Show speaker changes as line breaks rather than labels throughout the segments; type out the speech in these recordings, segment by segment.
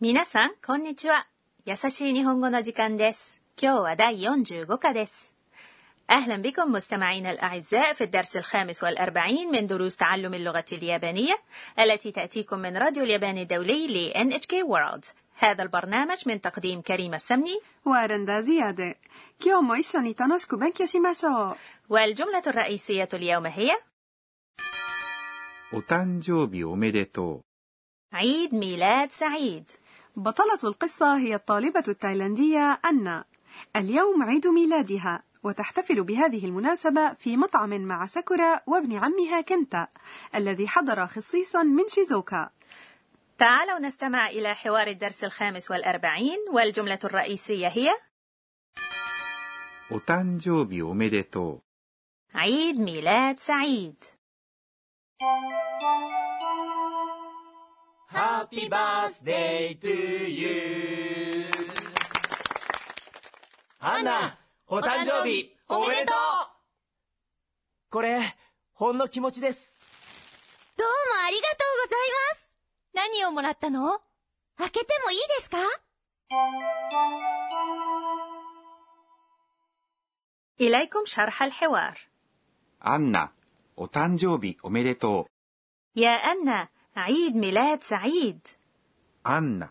皆さん、こんにちは。優しい日本語の時間です。今日は第45課です。أهلا بكم مستمعينا الأعزاء في الدرس الخامس والأربعين من دروس تعلم اللغة اليابانية التي تأتيكم من راديو اليابان الدولي ل NHK World هذا البرنامج من تقديم كريم السمني
ワーレンダーズヤで今日も一緒に楽しく勉強しましょう
والجملة الرئيسية اليوم هي
お誕生日おめでと
عيد ميلاد سعيد
بطلة القصة هي الطالبة التايلاندية أنا اليوم عيد ميلادها وتحتفل بهذه المناسبة في مطعم مع ساكورا وابن عمها كنتا الذي حضر خصيصا من شيزوكا
تعالوا نستمع إلى حوار الدرس الخامس والأربعين والجملة الرئيسية هي
う。お誕生日おめでと
عيد ميلاد سعيد
ハッピーバースデートゥーユーアンナ、お誕生日、おめでとうこれ、ほんの気持ちです。
どうもありがとうございます。何をもらったの開けてもいいですか
إليكم شرح الحوار
う。アンナ、お誕生日おめでとう。
يا أنا عيد ميلاد سعيد
アンナ、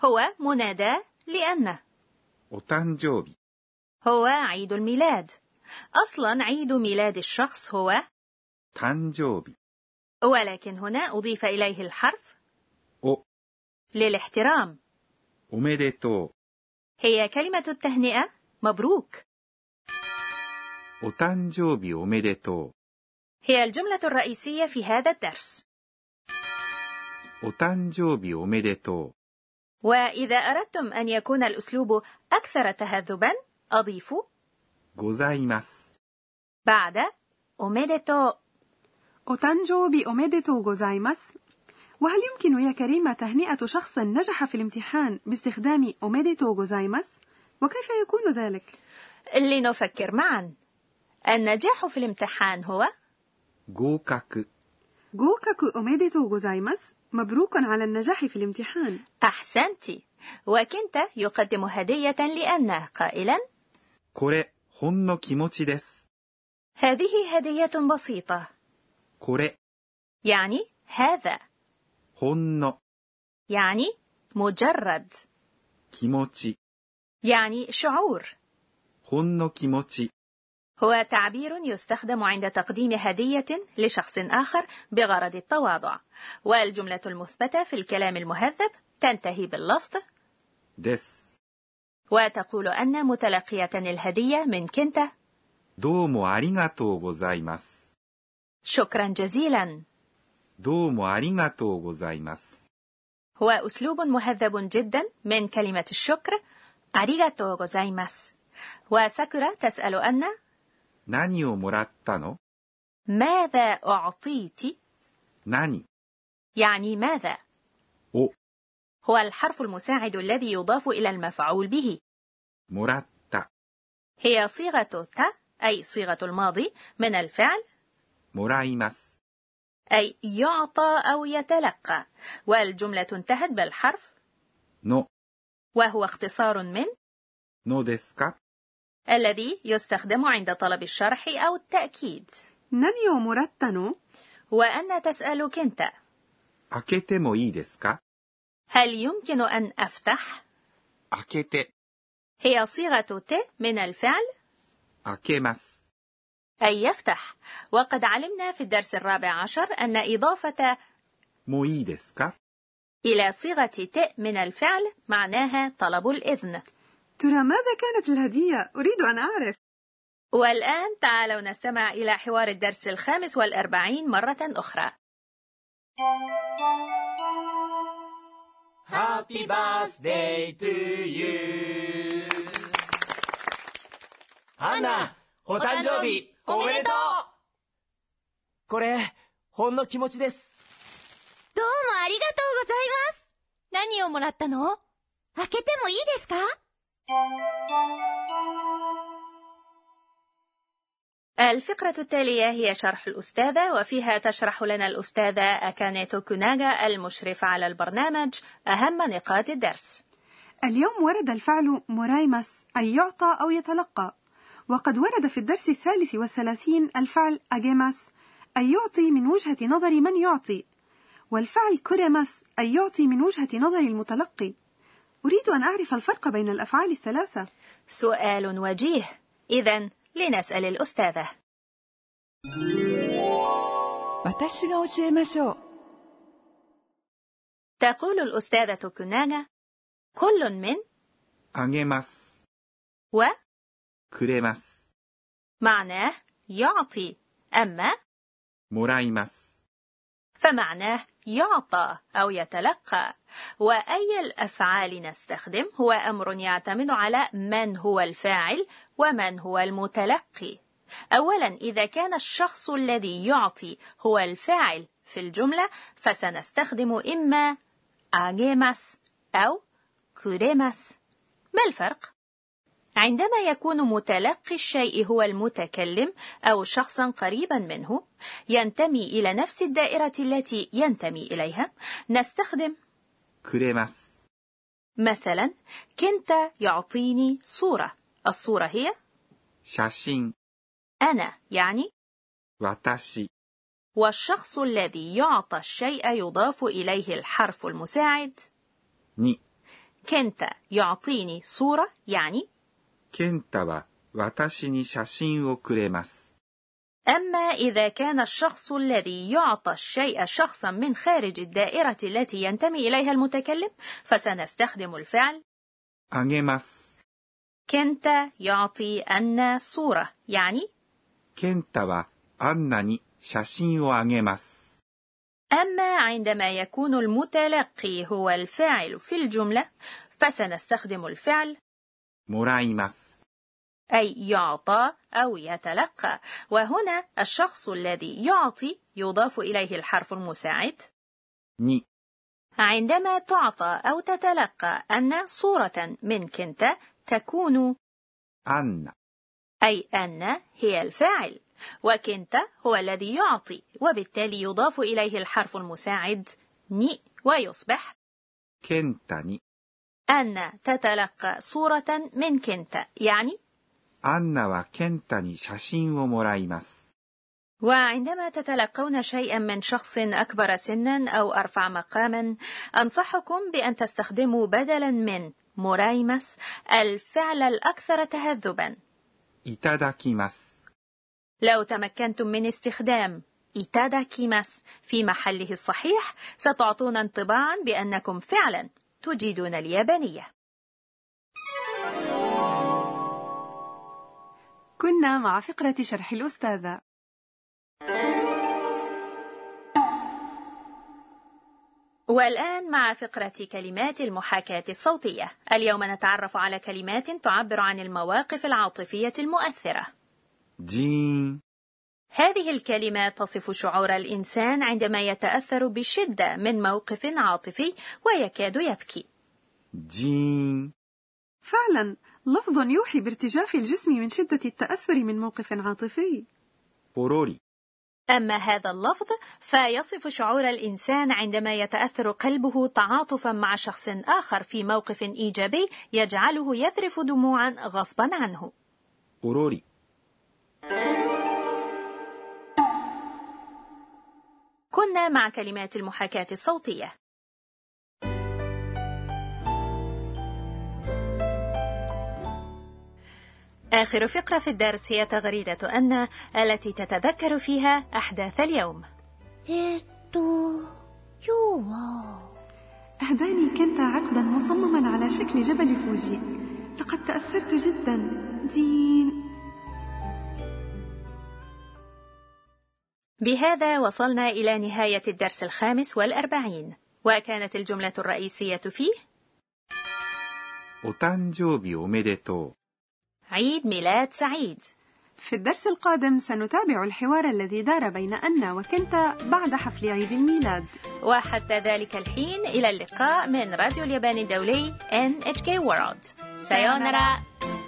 هو منادى لأن
お誕生日。
هو عيد الميلاد أصلا عيد ميلاد الشخص هو
誕生日。
ولكن هنا أضيف إليه الحرف
お、
للاحترام
おめでと
هي كلمة التهنئة مبروك
う。お誕生日おめでと
هي الجملة الرئيسية في هذا الدرس
う。お誕生日おめでと
وإذا أردتم أن يكون الأسلوب أكثر تهذبا أضيفوا
う。ございます。
بعد أوميديتو
お誕生日おめでとうございます وهل يمكن يا كريمة تهنئة شخص نجح في الامتحان باستخدام أوميديتو غوزايماس؟ وكيف يكون ذلك؟
لنفكر معا النجاح في الامتحان هو
合格。
合格おめでとうございます。مبروك على النجاح في الامتحان.
أحسنت وكنت يقدم هدية لأن قائلا
これ、ほんの気持ちです。
هذه هدية بسيطة
これ、
يعني هذا
ほんの
يعني مجرد
気持ち。
يعني شعور
ほんの気持ち。
هو تعبير يستخدم عند تقديم هدية لشخص آخر بغرض التواضع والجملة المثبتة في الكلام المهذب تنتهي باللفظ
です。
وتقول أن متلقية الهدية من كنتا
どうもありがとうございます。
شكرا جزيلا
どうもありがとうございます。
هو أسلوب مهذب جدا من كلمة الشكر أريغاتو غوزايماس وساكورا تسأل أن
何をもらったの
ماذا أعطيت
何
يعني ماذا
を
هو الحرف المساعد الذي يضاف إلى المفعول به
もらった、
هي صيغة تا أي صيغة الماضي من الفعل
もらいます、
أي يعطى أو يتلقى والجملة انتهت بالحرف
の、
وهو اختصار من
のですか
الذي يستخدم عند طلب الشرح أو التأكيد
何をもらったの
وأن تسأل كنت
開けてもいいですか
هل يمكن أن أفتح؟
開けて、
هي صيغة ت من الفعل
開けます、
أي يفتح وقد علمنا في الدرس الرابع عشر أن إضافة
もういいですか
إلى صيغة ت من الفعل معناها طلب الإذن
ترى ماذا كانت الهدية؟ أريد أن أعرف.
والآن تعالوا نستمع إلى حوار الدرس الخامس والأربعين مرة أخرى
ハッピーバースデートゥーユーアンナ、お誕生日、おめでとうこれ、ほんの気持ちです。
どうもありがとうございます。何をもらったの開けてもいいですか
أهلا الفقرة التالية هي شرح الأستاذة وفيها تشرح لنا الأستاذة أكاني توكوناغا المشرف على البرنامج أهم نقاط الدرس
اليوم ورد الفعل مرايمس أي يعطى أو يتلقى وقد ورد في الدرس الثالث والثلاثين الفعل أجيمس أي يعطي من وجهة نظر من يعطي والفعل كوريمس أي يعطي من وجهة نظر المتلقي أريد أن أعرف الفرق بين الأفعال الثلاثة
سؤال وجيه إذا لنسأل الأستاذة
私が教えましょう
تقول الأستاذة توكوناغا كل من
あげます。
و
くれます。
معناه يعطي أما
もらいます。
فمعناه يعطى أو يتلقى وأي الأفعال نستخدم هو أمر يعتمد على من هو الفاعل ومن هو المتلقي أولا إذا كان الشخص الذي يعطي هو الفاعل في الجملة فسنستخدم إما أجيمس أو كوريمس ما الفرق؟ عندما يكون متلقي الشيء هو المتكلم او شخصا قريبا منه ينتمي الى نفس الدائره التي ينتمي اليها نستخدم
くれます。
مثلا كنت يعطيني صوره الصوره هي
写真、
انا يعني
私、
والشخص الذي يعطى الشيء يضاف اليه الحرف المساعد
に。
كنت يعطيني صوره يعني
ケンタは私に写真をくれます。
أما إذا كان الشخص الذي يعطى الشيء شخصا من خارج الدائرة التي ينتمي إليها المتكلم فسنستخدم الفعل
あげます。
كنت يعطي أن صورة يعني
ケンタはアンナに写真をあげます。
أما عندما يكون المتلقي هو الفاعل في الجملة فسنستخدم الفعل
もらいます。
أي يعطى أو يتلقى وهنا الشخص الذي يعطي يضاف إليه الحرف المساعد
に。
عندما تعطى أو تتلقى أن صورة من كنت تكون
アンナ、
أي أن هي الفاعل وكنت هو الذي يعطي وبالتالي يضاف إليه الحرف المساعد ني ويصبح
ケンタに。
أن تتلقى صورة من كنت يعني
アンナはケンタに写真をもらいます。
وعندما تتلقون شيئا من شخص أكبر سنا أو أرفع مقاما أنصحكم بأن تستخدموا بدلا من مرايمس الفعل الأكثر تهذبا
いただきます。
لو تمكنتم من استخدام إيتاداكيماس في محله الصحيح ستعطون انطباعا بأنكم فعلا تجيدون اليابانية
كنا مع فقرة شرح الأستاذة
والآن مع فقرة كلمات المحاكاة الصوتية اليوم نتعرف على كلمات تعبر عن المواقف العاطفية المؤثرة
ジーン、
هذه الكلمة تصف شعور الإنسان عندما يتأثر بشدة من موقف عاطفي ويكاد يبكي
ジーン、
فعلا لفظ يوحي بارتجاف الجسم من شدة التأثر من موقف عاطفي
ポロリ、
أما هذا اللفظ فيصف شعور الإنسان عندما يتأثر قلبه تعاطفا مع شخص آخر في موقف إيجابي يجعله يذرف دموعا غصبا عنه
ポロリ。
كنا مع كلمات المحاكاة الصوتية آخر فقرة في الدرس هي تغريدة أن التي تتذكر فيها أحداث اليوم
えーっと、今日は、
أهداني كنت عقدا مصمما على شكل جبل فوجي لقد تأثرت جدا دين
بهذا وصلنا إلى نهاية الدرس الخامس والأربعين وكانت الجملة الرئيسية فيه
お誕生日おめでと
عيد ميلاد سعيد
في الدرس القادم سنتابع الحوار الذي دار بين أنا وكنت بعد حفل عيد الميلاد
وحتى ذلك الحين إلى اللقاء من راديو اليابان الدولي NHK World سايونارا